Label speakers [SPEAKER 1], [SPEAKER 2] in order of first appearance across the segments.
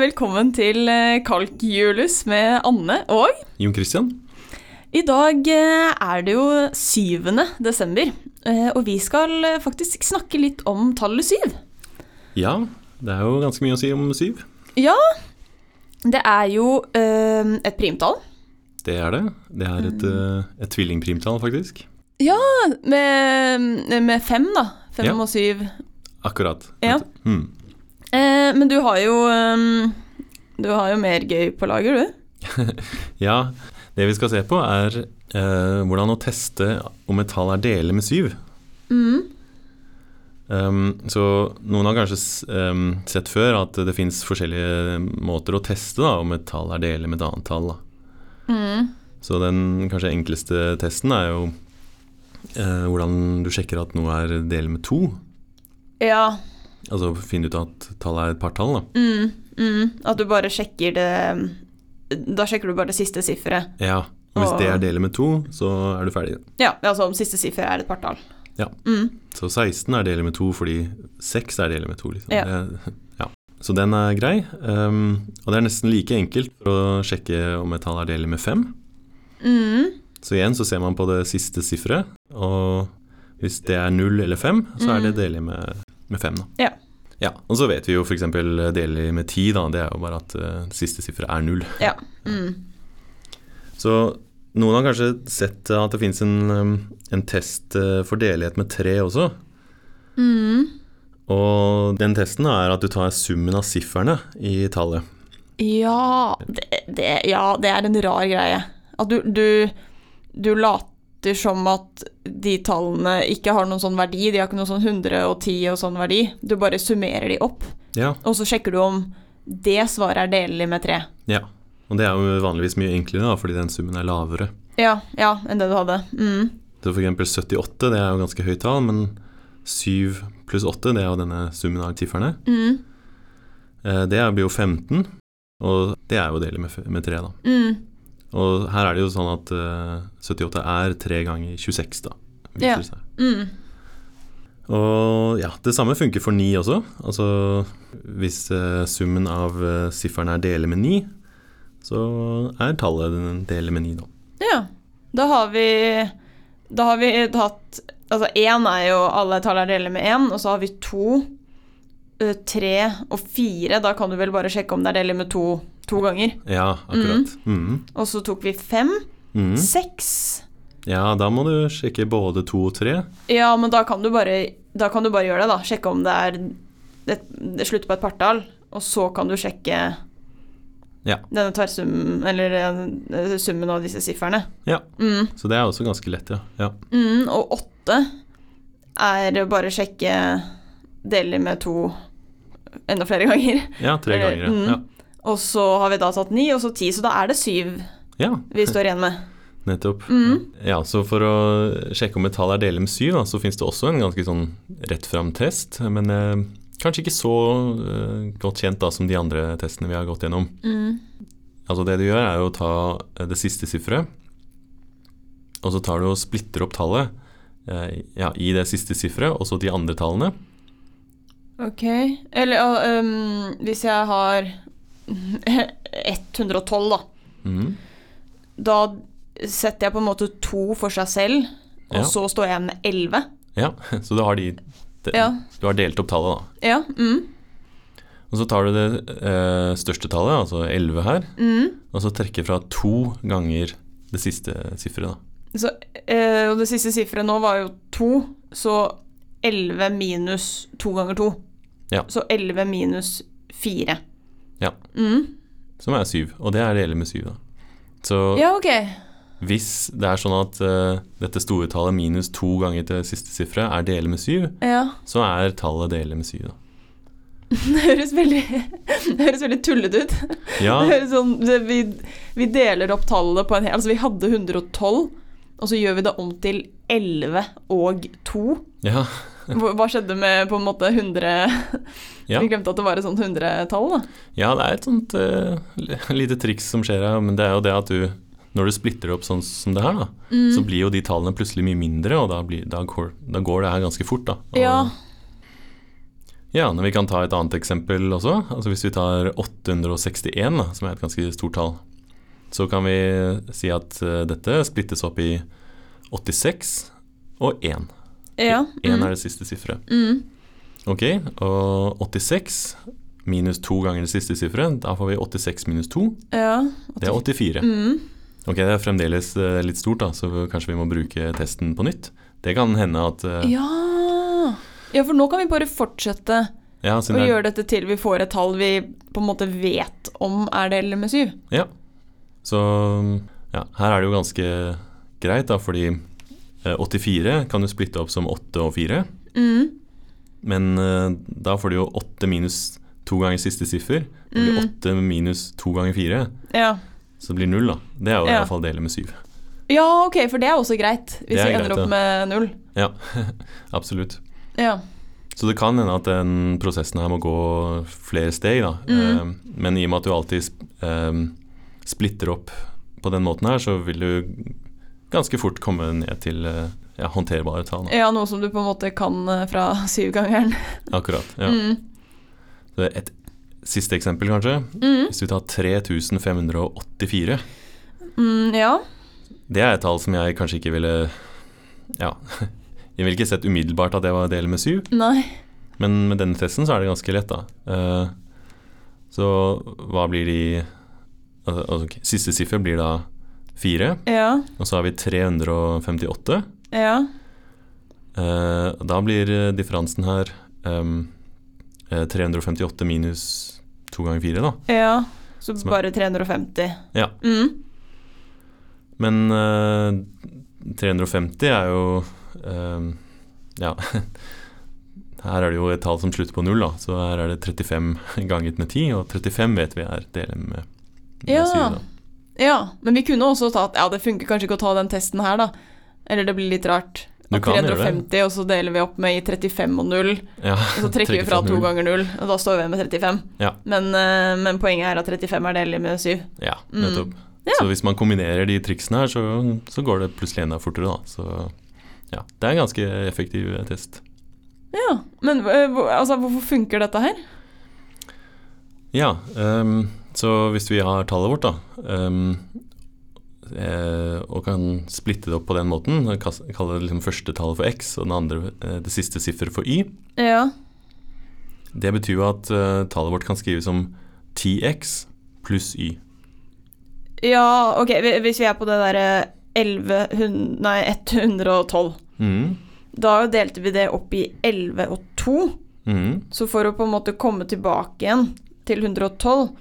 [SPEAKER 1] velkommen til eh, Kalkjulus med Anne og
[SPEAKER 2] Jon Christian?
[SPEAKER 1] I dag eh, er det jo 7. desember, eh, og vi skal eh, faktisk snakke litt om tallet syv.
[SPEAKER 2] Ja, det er jo ganske mye å si om syv.
[SPEAKER 1] Ja, det er jo eh, et primtall.
[SPEAKER 2] Det er det. Det er et, eh, et tvillingprimtall, faktisk.
[SPEAKER 1] Ja, med, med fem, da. Fem
[SPEAKER 2] Ja.
[SPEAKER 1] og syv.
[SPEAKER 2] Akkurat.
[SPEAKER 1] Ja.
[SPEAKER 2] Mm.
[SPEAKER 1] Eh, men du har jo eh, Du har jo mer gøy på lager, du.
[SPEAKER 2] ja, det vi skal se på er eh, hvordan å teste om et tall er delig med syv. Um, så noen har kanskje s- um, sett før at det fins forskjellige eh, måter å teste da, om et tall er delig med et annet tall. Da. Så den kanskje enkleste testen er jo eh, hvordan du sjekker at noe er delig med to.
[SPEAKER 1] Ja.
[SPEAKER 2] Altså finne ut at tallet er et partall, da.
[SPEAKER 1] Mm, mm, at du bare sjekker det Da sjekker du bare det siste sifferet.
[SPEAKER 2] Ja. Og hvis
[SPEAKER 1] Åh.
[SPEAKER 2] det er delig med to, så er du ferdig.
[SPEAKER 1] Ja, altså om siste siffer er et partall.
[SPEAKER 2] Ja.
[SPEAKER 1] Mm.
[SPEAKER 2] Så 16 er delig med to fordi 6 er delig med to, liksom.
[SPEAKER 1] Ja.
[SPEAKER 2] Det- ja. Så den er grei. Um, og det er nesten like enkelt for å sjekke om et tall er delig med fem.
[SPEAKER 1] Mm.
[SPEAKER 2] Så igjen så ser man på det siste sifferet, og hvis det er null eller fem, så er det delig med, med fem, da.
[SPEAKER 1] Mm. Ja.
[SPEAKER 2] Ja, Og så vet vi jo f.eks. delig med ti, da. Det er jo bare at eh, siste sifferet er null.
[SPEAKER 1] Ja. Mm.
[SPEAKER 2] Så noen har kanskje sett at det finnes en, um, en test eh, for delighet med tre også.
[SPEAKER 1] Mm.
[SPEAKER 2] Og den testen er at du tar summen av sifferne i tallet.
[SPEAKER 1] Ja, det, det, ja, det er en rar greie. At du, du, du later som at de tallene ikke har noen sånn verdi. De har ikke noe sånn 110 og sånn verdi. Du bare summerer de opp,
[SPEAKER 2] Ja.
[SPEAKER 1] og så sjekker du om det svaret er delelig med tre.
[SPEAKER 2] ja. Og det er jo vanligvis mye enklere, da, fordi den summen er lavere.
[SPEAKER 1] Ja, ja, enn det du hadde. Mm.
[SPEAKER 2] Så for eksempel 78, det er jo ganske høyt tall, men 7 pluss 8, det er jo denne summen av sifferne.
[SPEAKER 1] Mm.
[SPEAKER 2] Eh, Det blir jo 15, og det er jo delig med, f- med 3, da.
[SPEAKER 1] Mm.
[SPEAKER 2] Og her er det jo sånn at eh, 78 er 3 ganger 26, da, viser
[SPEAKER 1] Ja.
[SPEAKER 2] det seg.
[SPEAKER 1] Mm.
[SPEAKER 2] Og ja, det samme funker for 9 også. Altså hvis eh, summen av uh, sifferne er delig med 9, så er tallet den delig med 9, da.
[SPEAKER 1] Ja. Da har vi Da har vi hatt Altså én er jo alle tall er deler med én, og så har vi to, ø, tre og fire. Da kan du vel bare sjekke om det er deler med to to ganger.
[SPEAKER 2] Ja, akkurat. Mhm.
[SPEAKER 1] Og så tok vi fem.
[SPEAKER 2] Mhm.
[SPEAKER 1] Seks.
[SPEAKER 2] Ja, da må du sjekke både 2 og 3.
[SPEAKER 1] Ja, men da kan du bare Da kan du bare gjøre det, da. Sjekke om det er det, det slutter på et partall, og så kan du sjekke
[SPEAKER 2] Ja.
[SPEAKER 1] denne tverrsummen Eller ø, summen av disse sifrene.
[SPEAKER 2] Ja.
[SPEAKER 1] Mm.
[SPEAKER 2] Så det er også ganske lett, ja. ja.
[SPEAKER 1] Mm, og åtte er bare sjekke deler med to enda flere ganger.
[SPEAKER 2] Ja, tre
[SPEAKER 1] Eller,
[SPEAKER 2] ganger, ja.
[SPEAKER 1] mhm. Og så har vi da tatt ni, og så ti, så da er det syv
[SPEAKER 2] ja. ja.
[SPEAKER 1] vi står igjen med.
[SPEAKER 2] Nettopp.
[SPEAKER 1] Mhm.
[SPEAKER 2] Ja, så for å sjekke om et tall er delig med syv, da, så finnes det også en ganske sånn rett fram-test. Men eh, kanskje ikke så eh, godt kjent da som de andre testene vi har gått gjennom. Altså det du gjør er jo å ta eh, det siste sifferet, og så tar du og splitter opp tallet eh, ja, i det siste sifferet, og så de andre tallene.
[SPEAKER 1] Ok. Eller ja, øhm, hvis jeg har 112, da.
[SPEAKER 2] Mhm.
[SPEAKER 1] Da setter jeg på en måte to for seg selv, og
[SPEAKER 2] Ja.
[SPEAKER 1] så står jeg igjen med 11.
[SPEAKER 2] Ja, så du har, de, de,
[SPEAKER 1] Ja.
[SPEAKER 2] du har delt opp tallet da.
[SPEAKER 1] Ja. Mm,
[SPEAKER 2] Og så tar du det eh, største tallet, altså 11 her,
[SPEAKER 1] mm.
[SPEAKER 2] og så trekker fra to ganger det siste sifferet. da.
[SPEAKER 1] Så, eh, og det siste sifferet nå var jo to, så 11 minus to ganger to.
[SPEAKER 2] Ja.
[SPEAKER 1] Så 11 minus fire.
[SPEAKER 2] Ja.
[SPEAKER 1] Mm.
[SPEAKER 2] Som er syv, og det er det hele med syv. da. Så
[SPEAKER 1] Ja, ok.
[SPEAKER 2] hvis det er sånn at eh, dette store tallet minus to ganger det siste sifferet er det hele med syv,
[SPEAKER 1] Ja.
[SPEAKER 2] så er tallet det hele med syv. da.
[SPEAKER 1] Det høres veldig, det høres veldig tullete ut.
[SPEAKER 2] Ja,
[SPEAKER 1] Det høres sånn, det, vi, vi deler opp tallene på en hel Altså, vi hadde 112, og så gjør vi det om til 11 og 2.
[SPEAKER 2] ja,
[SPEAKER 1] Hva hva skjedde med på en måte 100
[SPEAKER 2] Ja.
[SPEAKER 1] Vi glemte at det var et sånt 100-tall, da.
[SPEAKER 2] ja, det er et sånt eh, li- lite triks som skjer her, men det er jo det at du når du splitter opp sånn som det her, da,
[SPEAKER 1] Mm.
[SPEAKER 2] så blir jo de tallene plutselig mye mindre, og da, blir, da, går, da går det her ganske fort. da. Og,
[SPEAKER 1] Ja.
[SPEAKER 2] Ja, men vi kan ta et annet eksempel også. Altså hvis vi tar 861, da, som er et ganske stort tall, så kan vi si at eh, dette splittes opp i 86 og 1. 1
[SPEAKER 1] Mm.
[SPEAKER 2] er det siste sifferet.
[SPEAKER 1] Mm.
[SPEAKER 2] Ok, og 86 minus 2 ganger det siste sifferet, da får vi 86 minus 2.
[SPEAKER 1] Ja.
[SPEAKER 2] Det er 84.
[SPEAKER 1] Mm.
[SPEAKER 2] Ok, det er fremdeles eh, litt stort, da, så kanskje vi må bruke testen på nytt. Det kan hende at eh,
[SPEAKER 1] ja. Ja, for nå kan vi bare fortsette
[SPEAKER 2] Ja,
[SPEAKER 1] å
[SPEAKER 2] siden det er,
[SPEAKER 1] gjøre dette til vi får et tall vi på en måte vet om er det eller med syv.
[SPEAKER 2] ja. Så ja, her er det jo ganske greit, da, fordi eh, 84 kan du splitte opp som 8 og 4.
[SPEAKER 1] Mm.
[SPEAKER 2] Men eh, da får du jo 8 minus 2 ganger siste siffer. Det
[SPEAKER 1] Mm.
[SPEAKER 2] blir 8 minus 2 ganger 4,
[SPEAKER 1] Ja.
[SPEAKER 2] så det blir 0, da. Det er jo i
[SPEAKER 1] Ja.
[SPEAKER 2] hvert fall dele med 7.
[SPEAKER 1] ja, ok, for det er også greit
[SPEAKER 2] Det
[SPEAKER 1] hvis
[SPEAKER 2] er
[SPEAKER 1] vi
[SPEAKER 2] greit,
[SPEAKER 1] ender
[SPEAKER 2] ja.
[SPEAKER 1] opp med null.
[SPEAKER 2] Ja, absolutt.
[SPEAKER 1] Ja.
[SPEAKER 2] Så det kan hende at den prosessen her må gå flere steg, da.
[SPEAKER 1] Mm.
[SPEAKER 2] Eh, Men i og med at du alltid sp- eh, splitter opp på den måten her, så vil du ganske fort komme ned til eh, ja, håndterbare tall. Da.
[SPEAKER 1] ja, noe som du på en måte kan eh, fra syvgangeren.
[SPEAKER 2] Akkurat. Ja.
[SPEAKER 1] Mm.
[SPEAKER 2] Så Et siste eksempel, kanskje.
[SPEAKER 1] Mm.
[SPEAKER 2] Hvis du tar 3584,
[SPEAKER 1] Mm, ja.
[SPEAKER 2] det er et tall som jeg kanskje ikke ville Ja, jeg ville ikke sett umiddelbart at det var del med syv.
[SPEAKER 1] Nei.
[SPEAKER 2] Men med denne testen så er det ganske lett, da. Eh, Så hva blir de altså, altså, ok, Siste siffer blir da fire,
[SPEAKER 1] Ja.
[SPEAKER 2] og så har vi 358.
[SPEAKER 1] Ja.
[SPEAKER 2] Eh, Da blir eh, differansen her em, eh, 358 minus to ganger fire, da.
[SPEAKER 1] Ja. Så
[SPEAKER 2] Som er-
[SPEAKER 1] bare 350.
[SPEAKER 2] Ja.
[SPEAKER 1] Mm.
[SPEAKER 2] Men eh, 350 er jo em, Ja. Her er det jo et tall som slutter på null, da. Så her er det 35 ganget med 10, og 35 vet vi er delen med, med
[SPEAKER 1] Ja.
[SPEAKER 2] syv, da.
[SPEAKER 1] Ja, men vi kunne også tatt Ja, det funker kanskje ikke å ta den testen her, da. Eller det blir litt rart.
[SPEAKER 2] Du
[SPEAKER 1] At
[SPEAKER 2] kan gjøre det.
[SPEAKER 1] 350, og så deler vi opp med i 35 og 0.
[SPEAKER 2] Ja,
[SPEAKER 1] Og så trekker vi fra to ganger 0, og da står vi igjen med 35.
[SPEAKER 2] Ja.
[SPEAKER 1] Men, eh, men poenget er at 35 er delig med 7.
[SPEAKER 2] Ja,
[SPEAKER 1] Mm.
[SPEAKER 2] nettopp.
[SPEAKER 1] Ja.
[SPEAKER 2] Så hvis man kombinerer de triksene her, så, så går det plutselig enda fortere, da. Så ja, det er en ganske effektiv eh, test.
[SPEAKER 1] Ja, Men eh, hvor- altså, hvorfor funker dette her?
[SPEAKER 2] Ja, ehm, så hvis vi har tallet vårt, da, ehm, eh, og kan splitte det opp på den måten, kas- kalle det liksom første tallet for x og den andre, eh, det siste sifferet for y,
[SPEAKER 1] Ja.
[SPEAKER 2] det betyr jo at eh, tallet vårt kan skrives som 10x pluss y.
[SPEAKER 1] ja, ok, hvi- hvis vi er på det derre 11, nei, 112
[SPEAKER 2] Mhm,
[SPEAKER 1] Da delte vi det opp i 11 og 2.
[SPEAKER 2] mhm,
[SPEAKER 1] Så for å på en måte komme tilbake igjen til 112,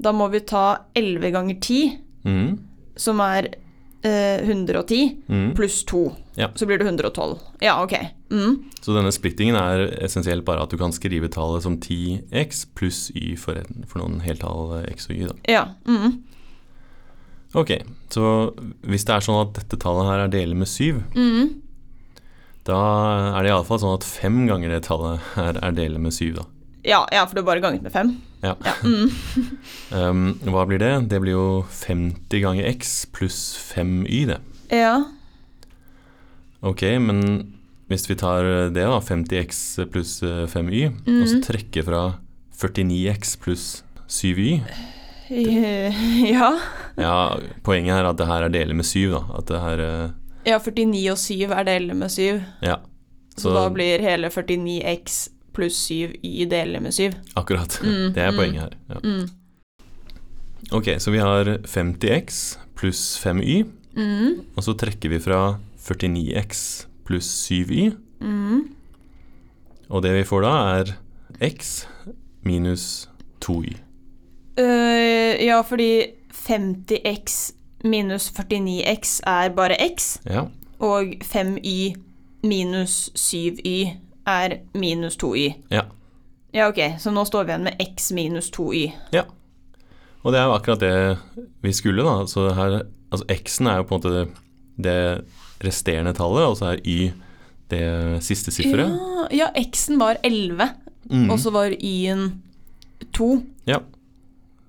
[SPEAKER 1] da må vi ta 11 ganger 10,
[SPEAKER 2] mhm,
[SPEAKER 1] som er eh, 110,
[SPEAKER 2] mhm.
[SPEAKER 1] pluss 2.
[SPEAKER 2] Ja.
[SPEAKER 1] Så blir det 112. Ja, ok. Mm.
[SPEAKER 2] Så denne splittingen er essensielt bare at du kan skrive tallet som 10x pluss y for, en, for noen heltall eh, x og y. Da.
[SPEAKER 1] Ja. Mm.
[SPEAKER 2] Ok, så hvis det er sånn at dette tallet her er delt med 7,
[SPEAKER 1] Mm.
[SPEAKER 2] da er det iallfall sånn at fem ganger det tallet her er delt med 7. Da.
[SPEAKER 1] Ja, ja, for det er bare ganget med fem.
[SPEAKER 2] Ja.
[SPEAKER 1] mm.
[SPEAKER 2] Um, hva blir det? Det blir jo 50 ganger x pluss 5y, det.
[SPEAKER 1] Ja.
[SPEAKER 2] Ok, men hvis vi tar det, da, 50x pluss eh, 5y, og
[SPEAKER 1] Mm.
[SPEAKER 2] så trekker fra 49x pluss 7y
[SPEAKER 1] Eh, Ja.
[SPEAKER 2] Ja, poenget er at det her er delt med syv, da. At det her eh,
[SPEAKER 1] ja, 49 og 7 er delt med 7,
[SPEAKER 2] Ja.
[SPEAKER 1] så, da blir hele 49x pluss 7y delt med 7.
[SPEAKER 2] Akkurat.
[SPEAKER 1] Mm,
[SPEAKER 2] Det er
[SPEAKER 1] mm.
[SPEAKER 2] poenget her. Ja.
[SPEAKER 1] Mm.
[SPEAKER 2] Ok, så vi har 50x pluss 5y,
[SPEAKER 1] Mm.
[SPEAKER 2] og så trekker vi fra 49x pluss 7y,
[SPEAKER 1] Mm.
[SPEAKER 2] og det vi får da, er x minus 2y.
[SPEAKER 1] Eh, ja, fordi 50x minus 49x er bare x,
[SPEAKER 2] Ja,
[SPEAKER 1] og 5y minus 7y er minus 2y.
[SPEAKER 2] Ja.
[SPEAKER 1] Ja, ok, så nå står vi igjen med x minus 2y.
[SPEAKER 2] Og det er jo akkurat det vi skulle, da. Så her, altså x-en er jo på en måte det, det resterende tallet, og så er y det siste sifferet.
[SPEAKER 1] Ja, ja X-en var 11,
[SPEAKER 2] Mm.
[SPEAKER 1] og så var Y-en 2.
[SPEAKER 2] Ja.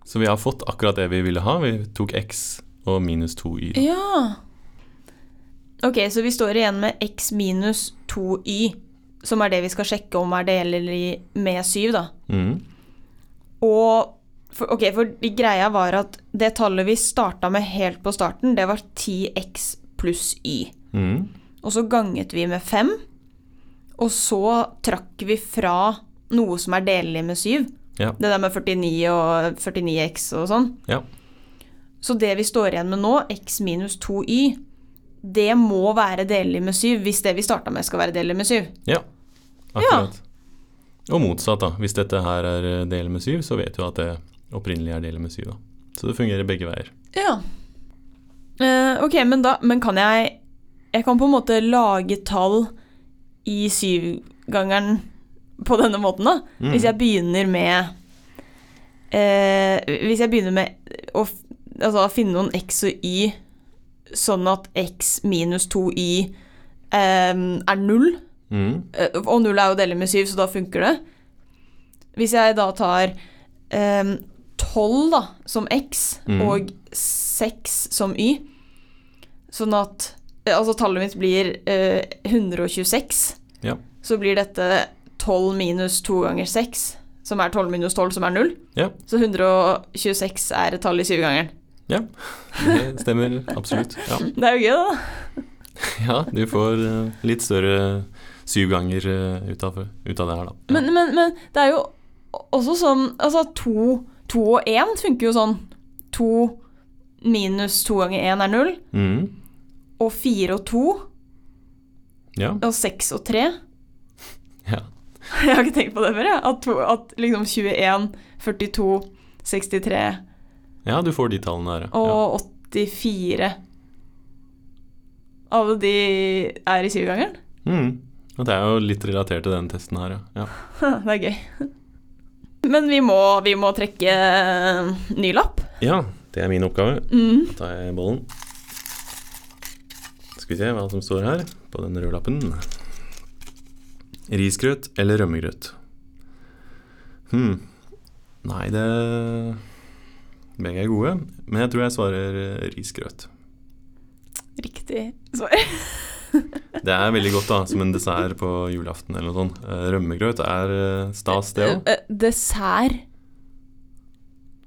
[SPEAKER 2] Så vi har fått akkurat det vi ville ha. Vi tok x og minus 2y.
[SPEAKER 1] Ja. Ok, så vi står igjen med X minus 2Y som er det vi skal sjekke om er delelig med syv, da.
[SPEAKER 2] Mm.
[SPEAKER 1] Og for, ok, for greia var at det tallet vi starta med helt på starten, det var 10x pluss y.
[SPEAKER 2] Mm.
[SPEAKER 1] Og så ganget vi med 5. Og så trakk vi fra noe som er delelig med 7.
[SPEAKER 2] Ja.
[SPEAKER 1] Det der med 49 og 49x og sånn.
[SPEAKER 2] Ja.
[SPEAKER 1] Så det vi står igjen med nå, x minus 2y, det må være delelig med 7 hvis det vi starta med, skal være delelig med 7.
[SPEAKER 2] Ja, akkurat. Og motsatt, da. Hvis dette her er eh, del med syv, så vet du at det opprinnelig er del med syv. Da. Så det fungerer begge veier.
[SPEAKER 1] Ja. Eh, ok, men da Men kan jeg Jeg kan på en måte lage tall i syvgangeren på denne måten, da?
[SPEAKER 2] Mm.
[SPEAKER 1] Hvis jeg begynner med eh, Hvis jeg begynner med å f- altså, finne noen x og y sånn at x minus 2y eh, er null,
[SPEAKER 2] Mm.
[SPEAKER 1] eh, og null er jo delt med syv, så da funker det. Hvis jeg da tar eh, 12 da, som x
[SPEAKER 2] Mm.
[SPEAKER 1] og 6 som y, sånn at eh, altså tallet mitt blir eh, 126,
[SPEAKER 2] Ja.
[SPEAKER 1] så blir dette 12 minus 2 ganger 6, som er 12 minus 12, som er 0.
[SPEAKER 2] Ja.
[SPEAKER 1] Så 126 er et tall i syvgangeren.
[SPEAKER 2] Det stemmer absolutt. Ja,
[SPEAKER 1] Det er jo gøy, da.
[SPEAKER 2] ja du får eh, litt større syv ganger eh, ut av, ut av det her, da. Ja.
[SPEAKER 1] Men, men, men det er jo også sånn Altså, to, to og én funker jo sånn. To minus to ganger én er null.
[SPEAKER 2] Mm.
[SPEAKER 1] Og fire og to.
[SPEAKER 2] Ja.
[SPEAKER 1] Og seks og tre.
[SPEAKER 2] ja.
[SPEAKER 1] Jeg har ikke tenkt på det før, jeg. At, to, at liksom 21, 42, 63
[SPEAKER 2] ja, du får de tallene her. ja. Ja.
[SPEAKER 1] og 84 Alle de er i syvgangeren.
[SPEAKER 2] Mm. Og det er jo litt relatert til den testen her, ja. ja.
[SPEAKER 1] Det er gøy. Men vi må, vi må trekke eh, ny lapp.
[SPEAKER 2] Ja, det er min oppgave.
[SPEAKER 1] Mm.
[SPEAKER 2] Da tar jeg bollen. Skal vi se hva som står her på den røde lappen. Risgrøt eller rømmegrøt? Hm. Nei, det Begge er gode, men jeg tror jeg svarer eh, risgrøt.
[SPEAKER 1] Riktig svar.
[SPEAKER 2] Det er veldig godt da, som en dessert på julaften eller noe sånt. Eh, Rømmegrøt er eh, stas, det òg.
[SPEAKER 1] Eh, Dessert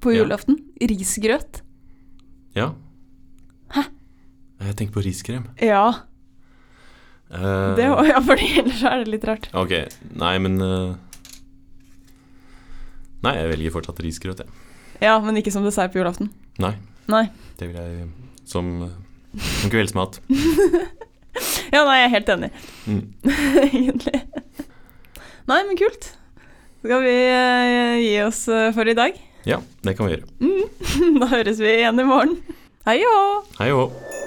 [SPEAKER 1] på
[SPEAKER 2] Ja.
[SPEAKER 1] julaften. Risgrøt.
[SPEAKER 2] Ja. Hæ? Jeg tenker på riskrem.
[SPEAKER 1] Ja,
[SPEAKER 2] Eh,
[SPEAKER 1] det var, ja, fordi ellers er det litt rart.
[SPEAKER 2] Ok, nei, men eh, Nei, jeg velger fortsatt risgrøt, jeg.
[SPEAKER 1] Ja, men ikke som dessert på julaften.
[SPEAKER 2] Nei.
[SPEAKER 1] Nei.
[SPEAKER 2] Det vil jeg som, eh, som kveldsmat.
[SPEAKER 1] Ja, nei, jeg er helt enig,
[SPEAKER 2] Mm.
[SPEAKER 1] egentlig. Nei, men kult. Skal vi eh, gi oss eh, for i dag?
[SPEAKER 2] Ja, det kan vi gjøre.
[SPEAKER 1] Da høres vi igjen i morgen. Hei og hå!
[SPEAKER 2] Hei og hå.